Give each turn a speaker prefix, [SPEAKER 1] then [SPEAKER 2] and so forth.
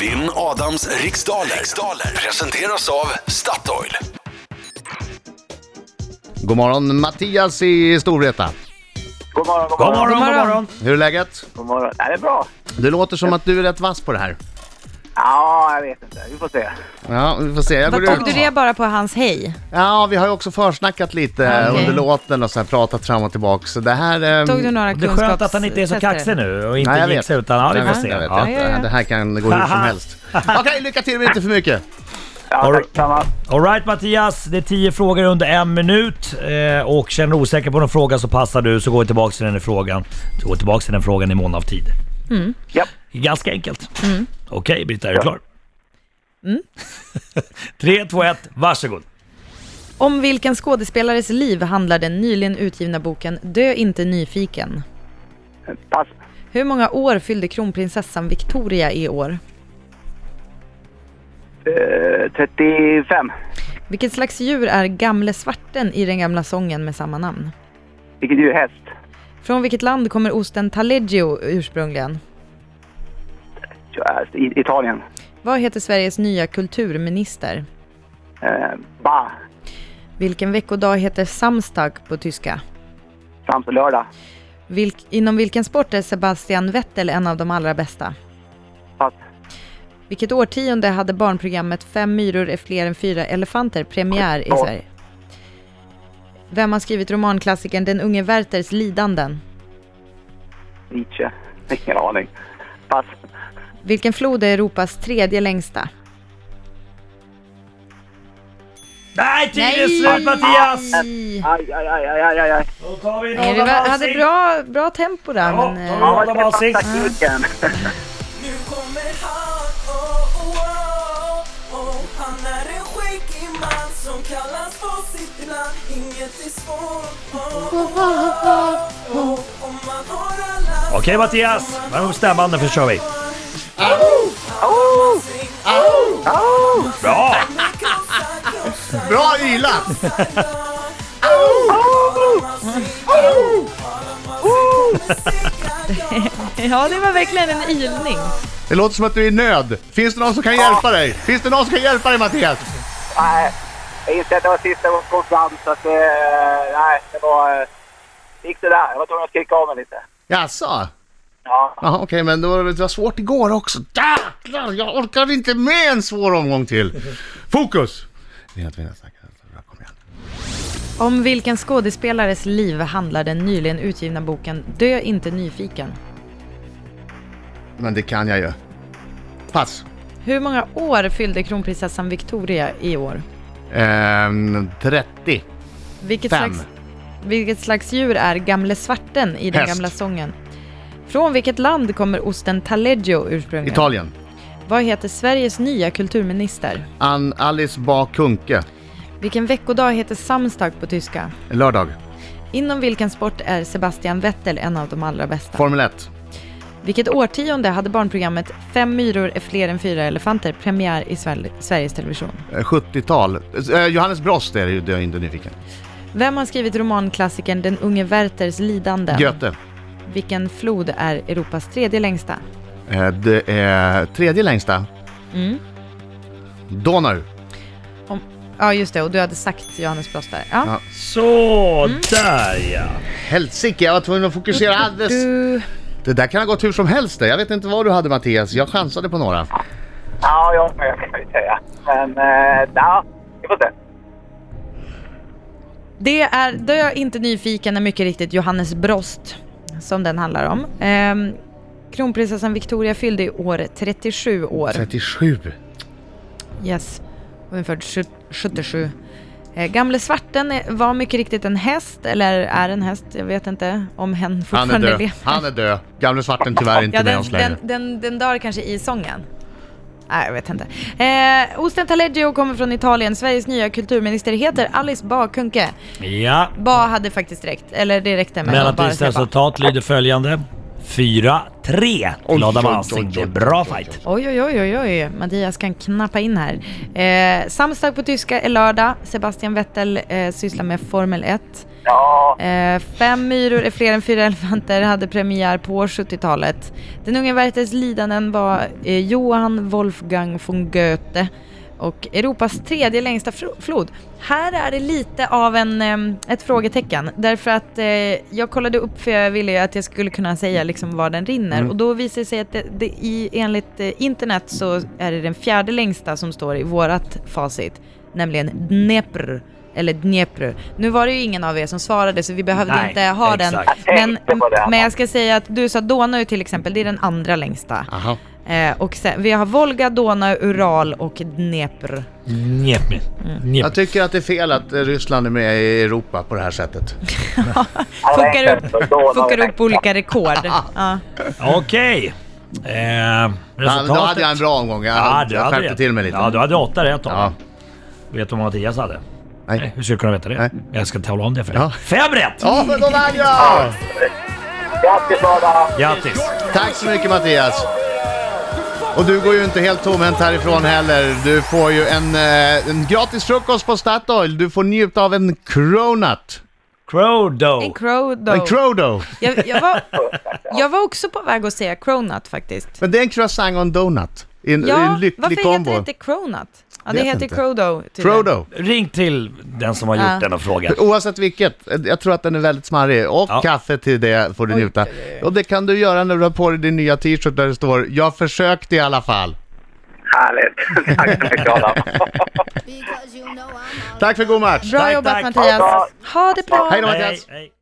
[SPEAKER 1] Vinn Adams riksdaler. riksdaler presenteras av Statoil.
[SPEAKER 2] God morgon Mattias i Storvreta.
[SPEAKER 3] God morgon, god
[SPEAKER 4] God
[SPEAKER 3] morgon.
[SPEAKER 4] morgon, god
[SPEAKER 5] morgon.
[SPEAKER 4] morgon!
[SPEAKER 2] Hur är läget?
[SPEAKER 3] God morgon. Är det är bra?
[SPEAKER 2] Det låter som att du är rätt vass på det här.
[SPEAKER 3] Ja, jag vet inte. Vi får se.
[SPEAKER 2] Ja, vi får se. Jag
[SPEAKER 5] Vad
[SPEAKER 2] går
[SPEAKER 5] tog
[SPEAKER 2] ut.
[SPEAKER 5] du det bara på hans hej?
[SPEAKER 2] Ja, vi har ju också försnackat lite
[SPEAKER 5] Ah, Okej.
[SPEAKER 2] under låten och så här, pratat fram och tillbaka. Så det här... ehm,
[SPEAKER 5] Tog du några
[SPEAKER 4] Mm. Det är skönt att han inte är så
[SPEAKER 5] kunskapstester?
[SPEAKER 4] kaxig nu och
[SPEAKER 2] Nej,
[SPEAKER 4] inte
[SPEAKER 2] jag
[SPEAKER 4] gick
[SPEAKER 2] vet.
[SPEAKER 4] sig utan... Ja,
[SPEAKER 2] jag
[SPEAKER 4] vi får
[SPEAKER 2] vet,
[SPEAKER 4] se.
[SPEAKER 2] jag vet,
[SPEAKER 4] Ja.
[SPEAKER 2] jag vet. Det här kan gå hur som helst. Okej, lycka till men inte för mycket.
[SPEAKER 3] Ja, tack detsamma.
[SPEAKER 4] Alright Mattias, det är 10 frågor under en minut eh, och känner du osäker på någon fråga så passar du så går vi tillbaka till den här frågan. Så går vi tillbaka till den frågan i mån av tid.
[SPEAKER 5] Mm.
[SPEAKER 3] Ja.
[SPEAKER 4] Ganska enkelt. Okej Britta, är du klar?
[SPEAKER 5] Mm.
[SPEAKER 4] 3, 2, 1, varsågod.
[SPEAKER 5] Om vilken skådespelares liv handlar den nyligen utgivna boken Dö inte nyfiken?
[SPEAKER 3] Pass.
[SPEAKER 5] Hur många år fyllde kronprinsessan Victoria i år?
[SPEAKER 3] Eh, 35.
[SPEAKER 5] Vilket slags djur är Gamle Svarten i den gamla sången med samma namn?
[SPEAKER 3] Vilket djur? Häst.
[SPEAKER 5] Från vilket land kommer osten Taleggio ursprungligen?
[SPEAKER 3] Ja, I, Italien.
[SPEAKER 5] Vad heter Sveriges nya kulturminister?
[SPEAKER 3] Eh, ba.
[SPEAKER 5] Vilken veckodag heter Samstag på tyska?
[SPEAKER 3] Fram på lördag.
[SPEAKER 5] Vilk, inom vilken sport är Sebastian Vettel en av de allra bästa?
[SPEAKER 3] Pass.
[SPEAKER 5] Vilket årtionde hade barnprogrammet Fem myror är fler än fyra elefanter premiär i
[SPEAKER 3] Ja.
[SPEAKER 5] Sverige? Vem har skrivit romanklassikern Den unge Werthers lidanden?
[SPEAKER 3] Nietzsche. Ingen aning. Pass.
[SPEAKER 5] Vilken flod är Europas tredje längsta?
[SPEAKER 4] Nej, tiden är slut Mattias!
[SPEAKER 5] Nej!
[SPEAKER 3] Aj, aj, aj, aj, aj, aj, aj.
[SPEAKER 4] Då tar vi
[SPEAKER 5] Nej,
[SPEAKER 4] någon
[SPEAKER 5] det
[SPEAKER 4] av
[SPEAKER 5] var, hade
[SPEAKER 4] allsing.
[SPEAKER 5] bra, bra tempo där,
[SPEAKER 4] Ja,
[SPEAKER 5] men...
[SPEAKER 4] ja.
[SPEAKER 5] eh,
[SPEAKER 3] Ja,
[SPEAKER 4] de
[SPEAKER 3] det
[SPEAKER 4] har
[SPEAKER 3] var
[SPEAKER 4] sex.
[SPEAKER 3] taktiken.
[SPEAKER 6] Nu kommer han, oh, oh, oh, oh. Han är en skäggig man som kallas på sitt namn Inget är svårt, oh, oh, oh, oh. Om man har alla
[SPEAKER 4] Okej Mattias, värm upp stämbanden för kör vi. Bra!
[SPEAKER 2] Bra ylat!
[SPEAKER 5] eh, Ja, det var verkligen en ylning.
[SPEAKER 2] Det låter som att du är i nöd. Finns det någon som kan hjälpa dig? Finns det någon som kan hjälpa dig Mattias?
[SPEAKER 3] Nej, jag inser att det var sista gången jag kom fram så att... Eh, nej, det var... Eh, gick det där. Jag var tvungen att skrika av mig lite.
[SPEAKER 2] Jaså?
[SPEAKER 3] Ja.
[SPEAKER 2] Jaha okej, men det var, det var svårt igår också. Jäklar, jag orkar inte med en svår omgång till. Fokus! Vinna, vinna, snacka, snacka, kom igen.
[SPEAKER 5] Om vilken skådespelares liv handlar den nyligen utgivna boken Dö inte nyfiken?
[SPEAKER 2] Men det kan jag ju. Pass.
[SPEAKER 5] Hur många år fyllde kronprinsessan Victoria i år?
[SPEAKER 2] Ehm, 30.
[SPEAKER 5] Vilket
[SPEAKER 2] Fem.
[SPEAKER 5] slags, vilket slags djur är Gamle Svarten i den
[SPEAKER 2] Häst.
[SPEAKER 5] gamla sången? Från vilket land kommer osten Taleggio ursprungligen?
[SPEAKER 2] Italien.
[SPEAKER 5] Vad heter Sveriges nya kulturminister?
[SPEAKER 2] Ann Alice Bah Kuhnke.
[SPEAKER 5] Vilken veckodag heter Samstag på tyska?
[SPEAKER 2] Lördag.
[SPEAKER 5] Inom vilken sport är Sebastian Vettel en av de allra bästa?
[SPEAKER 2] Formel 1.
[SPEAKER 5] Vilket årtionde hade barnprogrammet Fem myror är fler än fyra elefanter premiär i Sver- Sveriges Television?
[SPEAKER 2] Eh, 70-tal. Eh, Johannes Brost är det ju, det är jag inte nyfiken.
[SPEAKER 5] Vem har skrivit romanklassikern Den unge Werthers lidanden?
[SPEAKER 2] Göte.
[SPEAKER 5] Vilken flod är Europas tredje längsta?
[SPEAKER 2] Eh, Det är tredje längsta.
[SPEAKER 5] Mm.
[SPEAKER 2] Donau.
[SPEAKER 5] Om, ja, just det. Och du hade sagt Johannes Brost där. Ja.
[SPEAKER 2] Ja.
[SPEAKER 4] Så
[SPEAKER 5] Mm.
[SPEAKER 4] där ja.
[SPEAKER 2] Helsike, jag var tvungen att fokusera alldeles.
[SPEAKER 5] Du,
[SPEAKER 2] Det där kan ha gått hur som helst. det. Jag vet inte vad du hade Mattias. Jag chansade på några.
[SPEAKER 3] Ja, jag med kan vi säga. Men eh, ja, vi får se.
[SPEAKER 5] det är Dö inte nyfiken är mycket riktigt Johannes Brost som den handlar om. Ehm, kronprinsessan Victoria fyllde i år 37 år.
[SPEAKER 2] 37.
[SPEAKER 5] Yes. Hon är född 70 77. Eh, gamle Svarten är- var mycket riktigt en häst, eller är en häst, jag vet inte om hen
[SPEAKER 2] Han är
[SPEAKER 5] fortfarande
[SPEAKER 2] död.
[SPEAKER 5] lever.
[SPEAKER 2] Han är död. Gamle svarten tyvärr inte
[SPEAKER 5] Ja,
[SPEAKER 2] med
[SPEAKER 5] den,
[SPEAKER 2] oss längre.
[SPEAKER 5] den, den, den dör kanske i sången. Nej, jag vet inte. Eh, Osten Taleggio kommer från Italien. Sveriges nya kulturminister heter Alice Bah Kuhnke.
[SPEAKER 4] Ja,
[SPEAKER 5] Bah hade faktiskt räckt, eller det räckte med att bara
[SPEAKER 4] Mellantids
[SPEAKER 5] säga bah.
[SPEAKER 4] resultat lyder följande. 4-3 till
[SPEAKER 2] oj,
[SPEAKER 4] Adam
[SPEAKER 2] oj,
[SPEAKER 4] Alsing. Det är
[SPEAKER 2] oj, oj,
[SPEAKER 4] bra
[SPEAKER 2] oj,
[SPEAKER 4] fight.
[SPEAKER 5] Oj, oj, oj, oj, oj. Mattias kan knappa in här. Eh, Samstag på tyska är lördag. Sebastian Vettel eh, sysslar med Formel 1.
[SPEAKER 3] Ja,
[SPEAKER 5] Eh, fem myror är fler än fyra elefanter hade premiär på 70-talet. Den unge Werthers lidanden var eh, Johan Wolfgang von Goethe och Europas tredje längsta fro- flod. Här är det lite av en, ehm, ett frågetecken därför att eh, jag kollade upp för jag ville ju att jag skulle kunna säga liksom var den rinner
[SPEAKER 4] Mm.
[SPEAKER 5] och då visar det sig att det, det, i, enligt eh, internet så är det den fjärde längsta som står i vårat facit, nämligen Dnepr eller Dnepr. Nu var det ju ingen av er som svarade så vi behövde
[SPEAKER 4] Nej,
[SPEAKER 5] inte ha
[SPEAKER 4] exakt.
[SPEAKER 5] den. Men,
[SPEAKER 3] Jag tänkte på det.
[SPEAKER 5] men jag ska säga att du sa Donau till exempel, det är den andra längsta.
[SPEAKER 2] Aha.
[SPEAKER 5] Eh, och sen, vi har Volga, Donau, Ural och Dnepr.
[SPEAKER 4] Njep mig. Njep.
[SPEAKER 2] Jag tycker att det är fel att eh, Ryssland är med i Europa på det här sättet.
[SPEAKER 5] Fuckar upp,
[SPEAKER 3] för Donau.
[SPEAKER 5] fuckar upp olika rekord. Ja.
[SPEAKER 4] Okej. Eh,
[SPEAKER 2] Ja, men
[SPEAKER 4] resultatet.
[SPEAKER 2] då hade jag en bra omgång. Jag,
[SPEAKER 4] Ja, du
[SPEAKER 2] jag
[SPEAKER 4] hade
[SPEAKER 2] skärpte
[SPEAKER 4] rätt.
[SPEAKER 2] till mig lite.
[SPEAKER 4] Ja, du hade åtta rätt om.
[SPEAKER 2] Ja.
[SPEAKER 4] Vet du vad Mattias hade? Nej,
[SPEAKER 2] Nej.
[SPEAKER 4] Hur skulle du kunna veta det?
[SPEAKER 2] Nej.
[SPEAKER 4] Jag ska tala om det för dig.
[SPEAKER 2] Ja.
[SPEAKER 4] Fem rätt!
[SPEAKER 2] Ja, men då vann jag!
[SPEAKER 3] Grattis Adam!
[SPEAKER 4] Grattis!
[SPEAKER 2] Tack så mycket Mattias! Och du går ju inte helt tomhänt härifrån heller. Du får ju en, eh, en gratis frukost på Statoil. Du får njuta av en cronut.
[SPEAKER 5] En
[SPEAKER 4] Crodo.
[SPEAKER 5] crow
[SPEAKER 2] Oh. En
[SPEAKER 5] då.
[SPEAKER 2] crodo.
[SPEAKER 5] Jag, jag, var, jag var också på väg att säga cronut faktiskt.
[SPEAKER 2] Men det är en croissant och en donut. I en, i
[SPEAKER 5] Ja,
[SPEAKER 2] en lycklig
[SPEAKER 5] varför
[SPEAKER 2] kombo.
[SPEAKER 5] heter det inte cronut? Ja, det
[SPEAKER 2] Vet
[SPEAKER 5] heter
[SPEAKER 2] inte.
[SPEAKER 5] crodo. tydligen.
[SPEAKER 2] Crodo.
[SPEAKER 4] Ring till den som har gjort
[SPEAKER 5] Ja.
[SPEAKER 4] denna fråga.
[SPEAKER 2] Oavsett vilket, eh, jag tror att den är väldigt smarrig. Och
[SPEAKER 4] Ja.
[SPEAKER 2] kaffe till det får du
[SPEAKER 5] Oj,
[SPEAKER 2] njuta.
[SPEAKER 5] oj, oj.
[SPEAKER 2] Och det kan du göra när du har på dig din nya t-shirt där det står “Jag försökte i alla fall”.
[SPEAKER 3] Härligt! Tack så mycket Adam!
[SPEAKER 2] Tack för god match!
[SPEAKER 5] Bra
[SPEAKER 4] Tack,
[SPEAKER 5] jobbat
[SPEAKER 4] tack.
[SPEAKER 5] Mattias. Ha det bra.
[SPEAKER 2] Hej då Mattias!
[SPEAKER 4] hej.